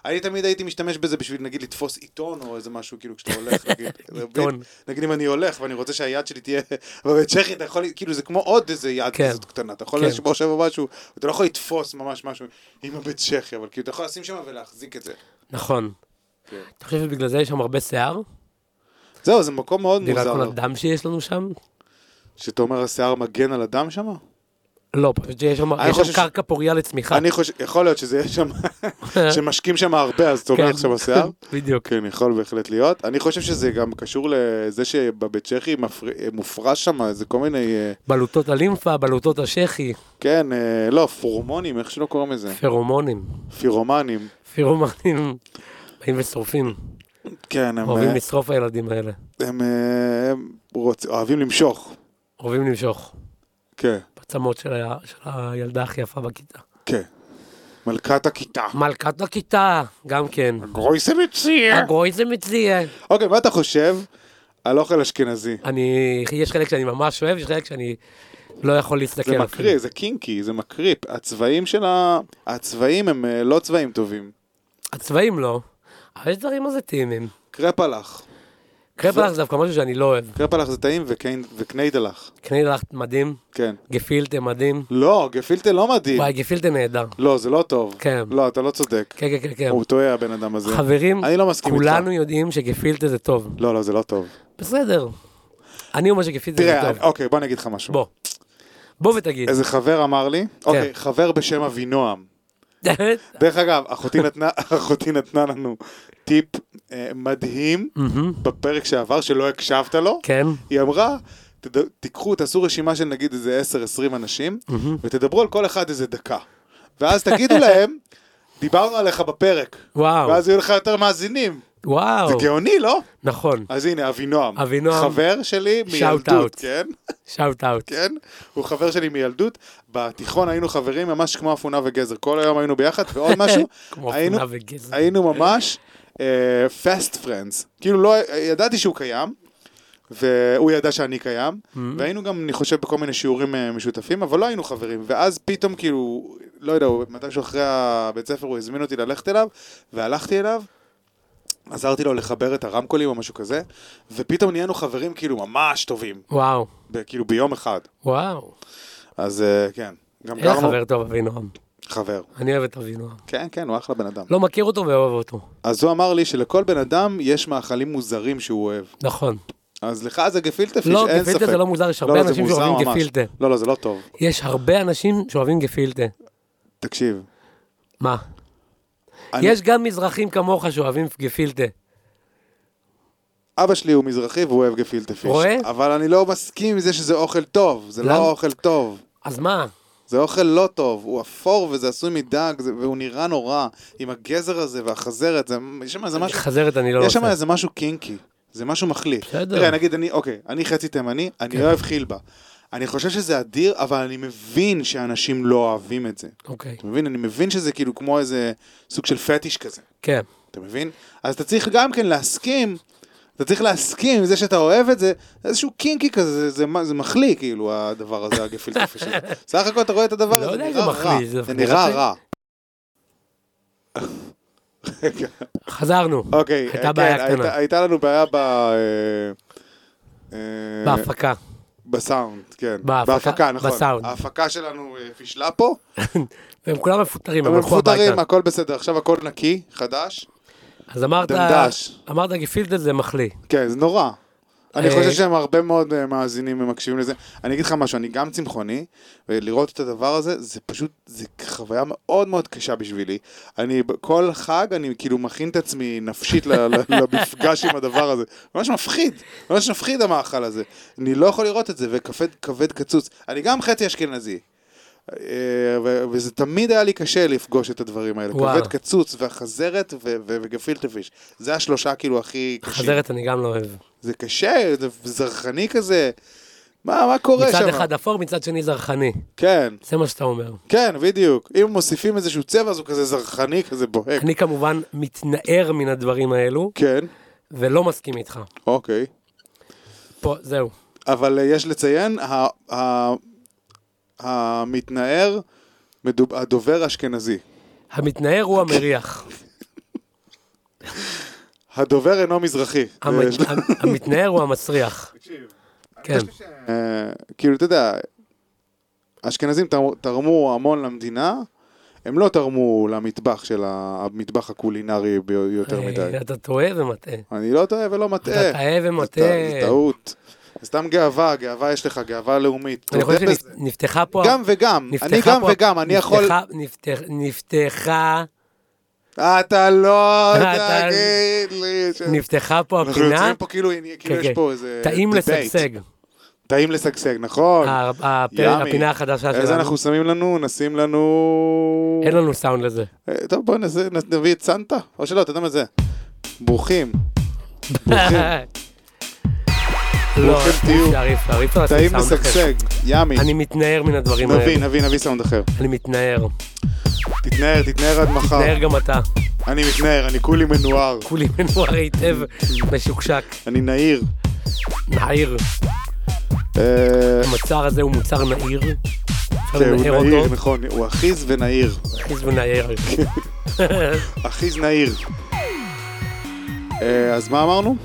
A: אני תמיד הייתי משתמש בזה בשביל נגיד לתפוס עיתון או איזה משהו כאילו כשאתה הולך, נגיד,
B: עיתון.
A: נגיד אם אני הולך ואני רוצה שהיד שלי תהיה בבית שחי, אתה יכול, כאילו זה כמו עוד איזה יד
B: כן.
A: כזאת קטנה, אתה יכול
B: כן.
A: לשבור שם משהו, אתה לא יכול לתפוס ממש משהו עם הבית שחי, אבל כאילו אתה יכול לשים שם ולהחזיק את זה.
B: נכון.
A: כן.
B: אתה חושב שבגלל זה יש שם הרבה שיער?
A: זהו, זה מקום מאוד
B: בגלל
A: מוזר.
B: כל הדם שיש לנו שם?
A: שאתה אומר השיער מגן על הדם שם?
B: לא, פשוט שיש שם
A: אני
B: יש
A: חושב
B: שם
A: ש-
B: קרקע פוריה לצמיחה.
A: אני חושב, יכול להיות שזה יהיה שם, שמשקים שם הרבה, אז אתה אומר
B: כן.
A: עכשיו השיער?
B: בדיוק.
A: כן, יכול בהחלט להיות. אני חושב שזה גם קשור לזה שבבית צ'כי מפר- מופרש שם איזה כל מיני, אה,
B: בלוטות הלימפה, בלוטות השחי,
A: כן, אה, לא, פורמונים, איך שלא קוראים לזה,
B: פרומונים.
A: פירומנים.
B: פירומנים באים ושורפים.
A: כן, הם,
B: אוהבים
A: אה,
B: לשרוף הילדים האלה.
A: הם, אה, הם רוצ- אוהבים למשוך.
B: אוהבים למשוך.
A: כן,
B: בצמות של ה- של הילדה הכי יפה בכיתה.
A: כן. מלכת הכיתה.
B: מלכת הכיתה, גם כן.
A: גרויסה מציע.
B: הגוי זה מצליח.
A: אוקיי, מה אתה חושב על אוכל אשכנזי?
B: אני, יש חלק שאני ממש אוהב, יש חלק שאני לא יכול להסתכל
A: זה
B: אפילו.
A: מקריא, זה קינקי, זה מקריפ. הצבעים של ה... הצבעים הם אה, לא צבעים טובים.
B: הצבעים לא, אבל יש דברים מזטימים.
A: קרפלח.
B: קרפלח זה דווקא משהו שאני לא אוהב.
A: קרפלח זה טעים וקיינ- וקניידלח.
B: קניידלח מדהים,
A: כן.
B: גפילטה מדהים.
A: לא, גפילטה לא מדהים.
B: וואי, גפילטה נהדר.
A: לא, זה לא טוב.
B: כן.
A: לא, אתה לא צודק.
B: כן, כן, כן, כן.
A: הוא טועה, הבן אדם הזה.
B: חברים,
A: אני לא מסכים איתך.
B: כולנו יודעים שגפילטה זה טוב.
A: לא, לא, זה לא טוב.
B: בסדר. אני אומר שגפילטה זה
A: תראה,
B: טוב.
A: אני- אוקיי, בוא אני אגיד לך משהו.
B: בוא. כן. בוא ותגיד.
A: איזה חבר אמר לי, אוקיי, חבר בשם אבינועם. דרך אגב, אחותי נתנה- אחותי נתנה לנו טיפ אה, מדהים
B: מהמם.
A: בפרק שעבר, שלא הקשבת לו.
B: כן,
A: היא אמרה, "תד- תיקחו, תעשו רשימה של נגיד איזה 10-20 אנשים, ותדברו על כל אחד איזה דקה. ואז תגידו להם, דיברנו עליך בפרק.
B: וואו,
A: ואז יהיו לך יותר מאזינים.
B: וואו,
A: זה גאוני, לא?
B: נכון,
A: אז הנה, אבינועם.
B: אבינועם.
A: חבר שלי
B: שאוט
A: מילדות,
B: אאוט.
A: כן?
B: שאוט אאוט,
A: כן? הוא חבר שלי מילדות. בתיכון היינו חברים ממש כמו אפונה וגזר. כל היום היינו ביחד, ועוד משהו,
B: כמו
A: היינו-
B: אפונה וגזע,
A: היינו ממש אה, fast friends. כאילו, לא, ידעתי שהוא קיים, והוא ידע שאני קיים, והיינו גם, אני חושב, בכל מיני שיעורים אה, משותפים, אבל לא היינו חברים. ואז פתאום, כאילו, לא יודע, הוא- מתישהו אחרי הבית ספר הוא הזמין אותי ללכת אליו, והלכתי אליו. עזרתי לו לחבר את הרמקולים או משהו כזה, ופתאום נהיינו חברים כאילו ממש טובים,
B: וואו,
A: ב- כאילו ביום אחד.
B: וואו,
A: אז אה, כן, גם
B: אין לך
A: גרנו...
B: חבר טוב אבינועם,
A: חבר.
B: אני אוהב את אבינועם,
A: כן, כן, הוא אחלה בן אדם.
B: לא מכיר אותו ואוהב אותו,
A: אז הוא אמר לי שלכל בן אדם יש מאכלים מוזרים שהוא אוהב.
B: נכון,
A: אז לך זה גפילטע פיש,
B: לא,
A: אין ספק.
B: גפילטע זה לא מוזר, יש
A: לא,
B: הרבה
A: לא, זה
B: אנשים
A: מוזר
B: שאוהבים
A: ממש.
B: גפילטע.
A: לא, לא, זה לא טוב.
B: יש הרבה אנשים שאוהבים גפילטה,
A: תקשיב.
B: מה?
A: אני-
B: יש גם מזרחים כמוך שאוהבים גפילטה,
A: אבא שלי הוא מזרחי והוא אוהב גפילטע פיש.
B: רואה?
A: אבל אני לא מסכים עם זה שזה אוכל טוב. זה
B: למה?
A: לא אוכל טוב.
B: אז מה?
A: זה אוכל לא טוב. הוא אפור וזה עשוי מדג, זה- והוא נראה נורא. עם הגזר הזה והחזרת, זה- יש שם איזה משהו...
B: חזרת אני לא
A: יש שם
B: רוצה.
A: איזה משהו קינקי, זה משהו מחליף.
B: בסדר. כן.
A: תראה, נגיד אני, אוקיי, אני חצי תימני, אני אוהב חילבה. אני חושב שזה אדיר, אבל אני מבין שאנשים לא אוהבים את זה.
B: אוקיי,
A: אתה מבין? אני מבין שזה כאילו כמו איזה סוג של פטיש כזה.
B: כן,
A: אתה מבין? אז אתה צריך גם כן להסכים, אתה צריך להסכים עם זה שאתה אוהב את זה, זה איזשהו קינקי כזה, זה, זה, מה- זה מחליא כאילו הדבר הזה, הגפילטפי שלו. סך הכל אתה רואה את הדבר
B: לא
A: הזה,
B: יודע
A: זה
B: אם
A: נראה
B: זה
A: רע.
B: מחליא, זה
A: זה נראה
B: דווקא-
A: רע. רגע.
B: חזרנו,
A: אוקיי,
B: הייתה
A: כן,
B: בעיה קטנה.
A: הייתה- הייתה לנו בעיה ב... אה, אה,
B: בהפקה,
A: בסאונד, כן.
B: בהפקה?
A: נכון.
B: בסאונד.
A: ההפקה שלנו אה, פישלה פה.
B: והם כולם מפוטרים,
A: הם
B: הם הלכו
A: מפוטרים,
B: הביתה.
A: הכל בסדר. עכשיו הכל נקי, חדש.
B: אז אמרת,
A: דנדש.
B: אמרת גפילטה זה מחליא,
A: כן, זה נורא. אני
B: אה,
A: חושב שהם הרבה מאוד אה, מאזינים ומקשיבים לזה. אני אגיד לך משהו, אני גם צמחוני, ולראות את הדבר הזה, זה פשוט, זה חוויה מאוד מאוד קשה בשבילי. אני, ב- כל חג אני כאילו מכין את עצמי נפשית ל- ל- למפגש עם הדבר הזה. ממש מפחיד, ממש מפחיד המאכל הזה. אני לא יכול לראות את זה, וכבד כבד קצוץ. אני גם חצי אשכנזי. אה, ו- וזה תמיד היה לי קשה לפגוש את הדברים האלה.
B: וואו.
A: כבד קצוץ והחזרת ו- ו- וגפילטע פיש. זה השלושה כאילו הכי קשים.
B: חזרת אני גם לא אוהב.
A: זה קשה, זה זרחני כזה. מה, מה קורה שם?
B: מצד אחד אפור, מצד שני זרחני.
A: כן,
B: זה מה שאתה אומר.
A: כן, בדיוק. אם מוסיפים איזשהו צבע אז הוא כזה זרחני, כזה בוהק.
B: אני כמובן מתנער מן הדברים האלו,
A: כן,
B: ולא מסכים איתך.
A: אוקיי.
B: פה, זהו.
A: אבל אה, יש לציין, ה- ה- המתנער, מדוב- הדובר אשכנזי.
B: המתנער הוא המריח.
A: הדובר אינו מזרחי. אה,
B: המת-
A: ויש לו-
B: המ- המתנער הוא המסריח. כן.
A: אה, כאילו, אתה יודע, אשכנזים תר- תרמו המון למדינה, הם לא תרמו למטבח של ה- המטבח הקולינרי ב- יותר מדי.
B: אה, אתה טועה ומטעה.
A: אני לא טועה ולא מטעה.
B: אתה טועה
A: זה טע- זה
B: ומטעה.
A: טעות. זה סתם גאווה, גאווה יש לך, גאווה לאומית.
B: אני
A: תודה
B: חושב
A: בזה.
B: שנפתחה פה...
A: גם וגם,
B: נפתחה
A: אני גם
B: פה-
A: וגם, אני יכול...
B: נפתחה- נפתח- נפתחה,
A: אתה לא
B: אתה-
A: תגיד לי ש...
B: נפתחה פה
A: כן. אנחנו יוצרים
B: הפינה,
A: פה כאילו עני- כאילו
B: כן,
A: יש
B: כן.
A: פה איזה...
B: טעים
A: debate.
B: לשגשג, אה,
A: טעים לשגשג, נכון.
B: ה- הפ-
A: ימי.
B: הפינה החדשה
A: איזה
B: שלנו,
A: אנחנו שמים לנו? נשים לנו...
B: אין לנו סאונד לזה,
A: אה, טוב, בוא נעשה- נ- נביא את סנטה, או שלא, אתה יודע מה זה. ברוכים, ברוכים,
B: לא,
A: ברוכים
B: אי
A: תהיו.
B: אפשר, אי אפשר, אי אפשר לעשות
A: טעים
B: סאונד אחר,
A: לשגשג, ימי.
B: אני מתנער מן הדברים
A: נביא,
B: האלה,
A: נביא, נביא סאונד אחר.
B: אני מתנער,
A: נכון. תתנער, תתנער עד מחר.
B: מתנער גם אתה,
A: אני מתנער, אני כולי מנוער,
B: כולי מנוער היטב, משוקשק,
A: אני נעיר.
B: נעיר,
A: אה,
B: המוצר הזה הוא מוצר נעיר, אפשר
A: זהו,
B: לנער
A: נעיר,
B: אותו,
A: נכון, הוא אחיז ונעיר.
B: נכניס ונעיר,
A: אחיז נעיר. אה, אז מה אמרנו?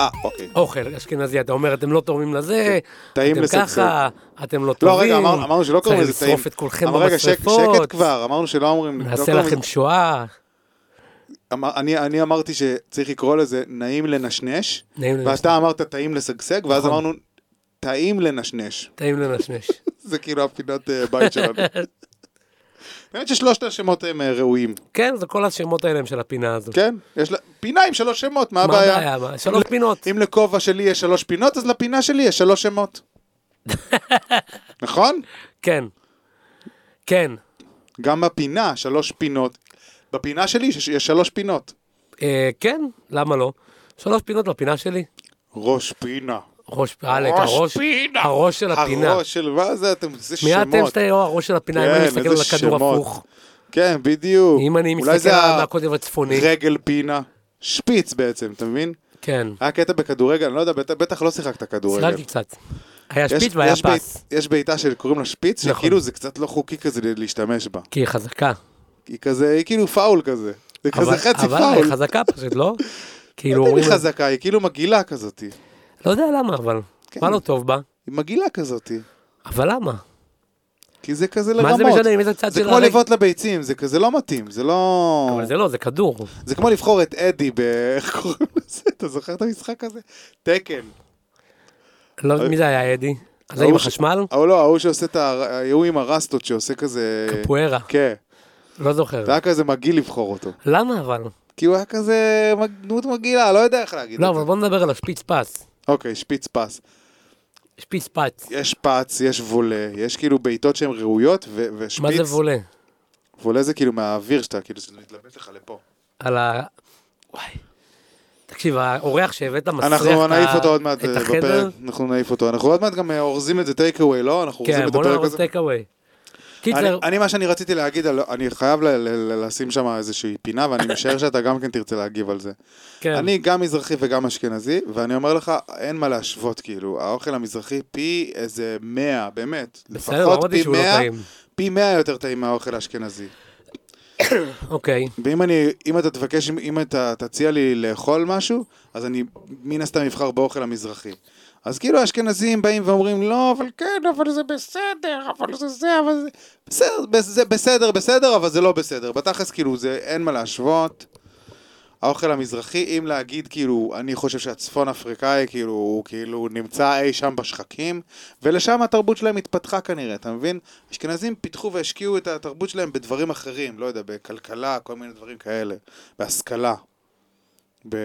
A: אה, אוקיי.
B: אוכל אשכנזי, אתה אומר, אתם לא תורמים לזה,
A: טעים
B: אתם
A: לשגשג.
B: ככה, אתם לא טובים.
A: לא, רגע, אמרנו אמרנו שלא קוראים לזה טעים.
B: צריך לשרוף את כולכם
A: אמר, רגע, שק-
B: במשרפות.
A: שקט כבר, אמרנו שלא אומרים... לא
B: נעשה
A: קוראים לזה-
B: לכם שואה.
A: אמר- אני אני אמרתי שצריך לקרוא לזה נעים לנשנש,
B: נעים לנשנש.
A: ואתה אמרת טעים לשגשג, ואז
B: נכון.
A: אמרנו טעים לנשנש.
B: טעים לנשנש.
A: זה כאילו הפינת אה, בית שלנו. באמת ששלושת השמות הם אה, ראויים.
B: כן, זה כל השמות האלה הם של הפינה הזאת.
A: כן, יש לה... פינה עם שלוש שמות, מה
B: מה
A: הבעיה?
B: הבעיה? מה- שלוש פינות.
A: אם לכובע שלי יש שלוש פינות, אז לפינה שלי יש שלוש שמות. נכון?
B: כן. כן.
A: גם בפינה שלוש פינות. בפינה שלי יש יש שלוש פינות.
B: אה, כן, למה לא? שלוש פינות בפינה שלי.
A: ראש פינה.
B: ראש אלק,
A: ראש
B: הראש,
A: פינה.
B: הראש של הפינה.
A: הראש של מה זה אתם, זה
B: מיד אתם
A: שמות.
B: שאתה או הראש של הפינה, אם
A: כן,
B: אני מסתכל על
A: איזה
B: הכדור
A: שמות.
B: הפוך.
A: כן, בדיוק.
B: אם אני
A: אולי
B: מסתכל
A: זה
B: על מהקוטב הצפוני.
A: רגל פינה. שפיץ בעצם, אתה מבין?
B: כן.
A: היה קטע בכדורגל, אני לא יודע, בטח- בטח לא שיחקת כדורגל.
B: שיחקתי קצת. היה
A: יש-
B: שפיץ והיה
A: יש בית-
B: פס.
A: יש בעיטה שקוראים לה שפיץ,
B: נכון.
A: שכאילו זה קצת לא חוקי כזה להשתמש בה.
B: כי היא חזקה.
A: היא כזה, היא כאילו פאול כזה. זה כזה
B: אבל-
A: חצי
B: אבל היא
A: פאול.
B: חזקה פשוט, לא? כאילו
A: לא יודע אם
B: אומרים...
A: היא חזקה, היא כאילו מגעילה כזאת. היא
B: לא יודע למה, אבל.
A: כן.
B: מה לא טוב בה?
A: מגעילה כזאת.
B: אבל למה?
A: כי זה כזה
B: מה
A: לרמות.
B: זה משנה עם איזה צד
A: זה
B: של
A: כמו
B: הרגל?
A: לבעוט לביצים, זה כזה לא מתאים, זה לא...
B: אבל זה לא, זה כדור.
A: זה כמו לבחור את אדי ב... איך קוראים לזה? אתה זוכר את המשחק הזה? תקן.
B: לא, מי זה היה אדי? זה עם
A: ההוא ש-
B: החשמל?
A: או לא, ההוא שעושה את ה... ההוא עם הרסטות שעושה כזה...
B: פוארה.
A: כן.
B: לא זוכר.
A: זה היה כזה מגעיל לבחור אותו.
B: למה אבל?
A: כי הוא היה כזה מג- דמות מגעילה, לא יודע איך להגיד
B: לא,
A: את זה.
B: אבל בוא נדבר על השפיץ פס.
A: אוקיי, שפיץ פס.
B: שפיץ פץ.
A: יש פץ, יש וולה, יש כאילו בעיטות שהן ראויות, ו-
B: מה
A: ושפיץ...
B: זה וולה?
A: וולה זה כאילו מהאוויר שאתה, כאילו, שזה מתלבט לך לפה.
B: על ה... וואי. תקשיב, האורח שהבאת מסריח
A: אנחנו
B: את ה-
A: נעיף אותו עוד מעט
B: את
A: אה,
B: החדר.
A: בפרק, אנחנו נעיף אותו. אנחנו עוד מעט גם אה, אורזים את זה טייק אווי, לא? אנחנו אורזים
B: כן,
A: את
B: בוא
A: הפרק
B: נערוך
A: הזה.
B: טייק אווי.
A: אני,
B: קיצר,
A: אני מה שאני רציתי להגיד, על- אני חייב ל, ל, ל, לשים שם איזושהי פינה, ואני משער שאתה גם כן תרצה להגיב על זה.
B: כן.
A: אני גם מזרחי וגם אשכנזי, ואני אומר לך, אין מה להשוות, כאילו, האוכל המזרחי פי איזה 100, באמת.
B: בסדר,
A: לפחות
B: אמרתי
A: פי
B: שהוא לא
A: 100,
B: טעים.
A: פי 100 יותר טעים מהאוכל האשכנזי.
B: אוקיי.
A: ואם אני, אם אתה תבקש, אם, אם אתה תציע לי לאכול משהו, אז אני מן הסתם אבחר באוכל המזרחי. אז כאילו האשכנזים באים ואומרים, לא, אבל כן, אבל זה בסדר, אבל זה זה, אבל זה... בסדר, בס- זה בסדר, בסדר, אבל זה לא בסדר. בתכלס, כאילו, זה אין מה להשוות. האוכל המזרחי, אם להגיד, כאילו, אני חושב שהצפון אפריקאי, כאילו, הוא כאילו נמצא אי שם בשחקים, ולשם התרבות שלהם התפתחה כנראה, אתה מבין? אשכנזים פיתחו והשקיעו את התרבות שלהם בדברים אחרים, לא יודע, בכלכלה, כל מיני דברים כאלה, בהשכלה. ב...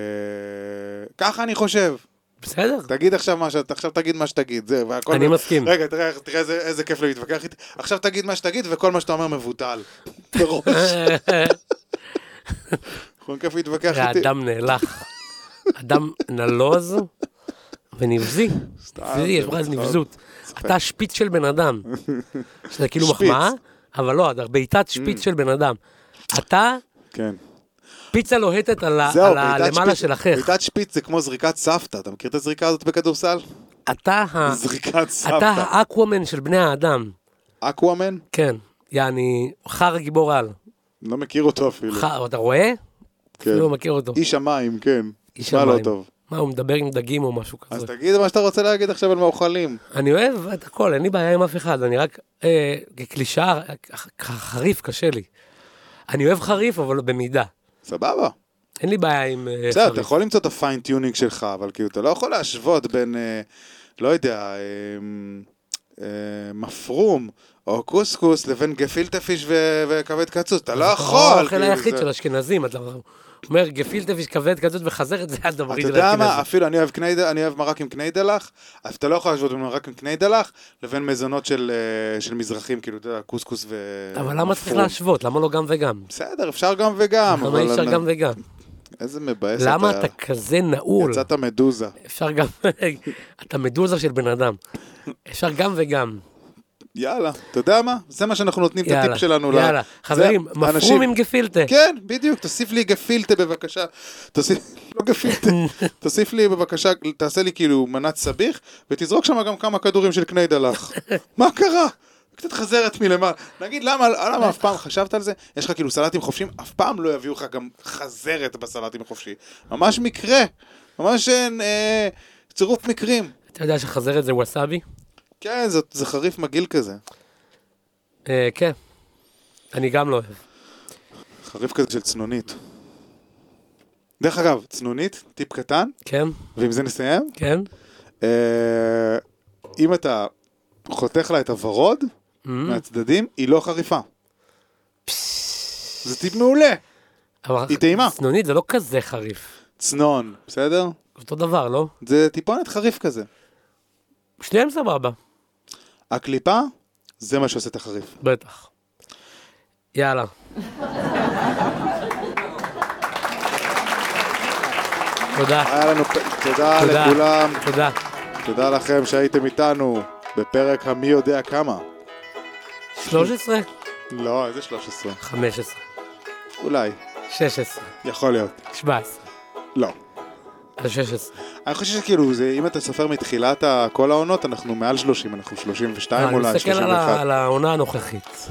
A: ככה אני חושב.
B: בסדר.
A: תגיד עכשיו מה שאתה, עכשיו תגיד מה שתגיד, זה, והכל...
B: אני מסכים.
A: רגע, תראה, איך- תראה איזה, איזה כיף לי להתווכח איתי. עכשיו תגיד מה שתגיד, וכל מה שאתה אומר מבוטל. בראש. נכון, כיף להתווכח
B: זה
A: איתי.
B: אדם נאלח. אדם נלוז ונבזי. נבזי, יש לך איזה
A: סתם.
B: נבזות. אתה שפיץ של בן אדם. שזה כאילו
A: שפיץ. Mm.
B: מחמאה, אבל לא, אתה בעיטת שפיץ של בן אדם. אתה
A: כן.
B: פיצה לוהטת על ה-
A: זהו,
B: על הלמעלה
A: שפיץ-
B: של אחיך.
A: בעיטת שפיץ זה כמו זריקת סבתא, אתה מכיר את הזריקה הזאת בכדורסל?
B: אתה ה-
A: זריקת
B: אה. אתה
A: סבתא.
B: האקוומן של בני האדם.
A: אקוואמן?
B: כן. יעני, חר גיבור על.
A: לא מכיר אותו אפילו.
B: חר, אתה רואה?
A: כן.
B: אפילו לא מכיר אותו.
A: איש המים, כן.
B: איש
A: נשמע
B: המים.
A: לא טוב.
B: מה, הוא מדבר עם דגים או משהו
A: אז
B: כזה.
A: תגיד מה שאתה רוצה להגיד עכשיו על מאוכלים.
B: אני אוהב את הכל, אין לי בעיה עם אף אחד, אני רק, אה, כקלישאה, ח- ח- חריף קשה לי. אני אוהב חריף, אבל במידה.
A: סבבה.
B: אין לי בעיה עם אה,
A: בסדר, אתה
B: חריף.
A: יכול למצוא את הפיינטיונינג שלך, אבל כאילו, אתה לא יכול להשוות בין, אה, לא יודע, אה, אה, מפרום או קוסקוס לבין גפילטה פיש ו- וכבד קצוץ, אתה לא יכול.
B: האוכל
A: כאילו,
B: היחיד
A: זה-
B: של אשכנזים, אתה אומר גפילטה ויש כבד כזאת וחזרת, זה הדברים
A: אתה יודע מה, אפילו אני אוהב, קנייד, אני אוהב מרק עם קניידלח, אז אתה לא יכול להשוות בין מרק עם קניידלח לבין מזונות של, אה, של מזרחים, כאילו, אתה יודע, קוסקוס ו...
B: אבל למה צריך
A: מפרום.
B: להשוות? למה לא גם וגם?
A: בסדר, אפשר גם וגם,
B: למה
A: אבל...
B: אי אפשר
A: אני-
B: גם וגם?
A: איזה מבאס אתה.
B: למה אתה כזה נעול?
A: יצאת מדוזה.
B: אפשר גם... אתה מדוזה של בן אדם. אפשר גם וגם.
A: יאללה, אתה יודע מה? זה מה שאנחנו נותנים את
B: יאללה,
A: הטיפ שלנו. ל-
B: יאללה.
A: זה-
B: חברים,
A: אנשים-
B: מפרום עם גפילטה.
A: כן, בדיוק, תוסיף לי גפילטה בבקשה. תוסיף, לא גפילטה, תוסיף לי בבקשה, תעשה לי כאילו מנת סביח, ותזרוק שם גם כמה כדורים של קניידלח. מה קרה? קצת חזרת מלמעלה. נגיד, למה, למה אף פעם חשבת על זה? יש לך כאילו סלטים חופשיים, אף פעם לא יביאו לך גם חזרת בסלטים חופשי. ממש מקרה, ממש אה, צירוף מקרים.
B: אתה יודע שחזרת זה ווסאבי?
A: כן, זה, זה חריף מגעיל כזה.
B: אה, כן. אני גם לא אוהב.
A: חריף כזה של צנונית. דרך אגב, צנונית, טיפ קטן,
B: כן?
A: ועם זה נסיים.
B: כן?
A: אה, אם אתה חותך לה את הוורוד
B: Mm-hmm.
A: מהצדדים, היא לא חריפה. זה טיפ מעולה.
B: אבל-
A: היא טעימה.
B: צנונית זה לא כזה חריף.
A: צנון, בסדר?
B: אותו דבר, לא?
A: זה טיפונת חריף כזה.
B: שניהם סבבה.
A: הקליפה, זה מה שעושה את החריף.
B: בטח. יאללה. תודה,
A: היה לנו, פ- תודה
B: תודה.
A: לכולם,
B: תודה.
A: תודה לכם שהייתם איתנו בפרק המי יודע כמה.
B: 13?
A: לא, איזה 13.
B: 15,
A: אולי,
B: 16,
A: יכול להיות.
B: 17,
A: לא.
B: אז 16.
A: אני חושב שכאילו, זה, אם אתה סופר מתחילת ה- כל העונות, אנחנו מעל 30, אנחנו 32
B: אה, אני
A: אולי,
B: מסתכל על ה-
A: 31.
B: על העונה הנוכחית.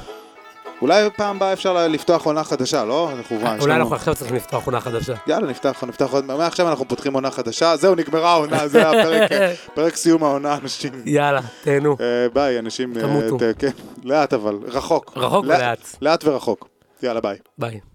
A: אולי פעם הבאה אפשר ל- לפתוח עונה חדשה, לא? אנחנו כבר, יש
B: אולי
A: לנו-
B: אנחנו עכשיו צריכים לפתוח עונה חדשה.
A: יאללה, נפתח, נפתח עוד, מעכשיו אנחנו פותחים עונה חדשה, זהו, נגמרה העונה, זה היה פרק, פרק סיום העונה, אנשים.
B: יאללה, תהנו.
A: אה, ביי, אנשים. אה,
B: תמותו.
A: ת- כן, לאט אבל, רחוק.
B: רחוק
A: לאט-
B: ולאט.
A: לאט ורחוק. יאללה, ביי.
B: ביי.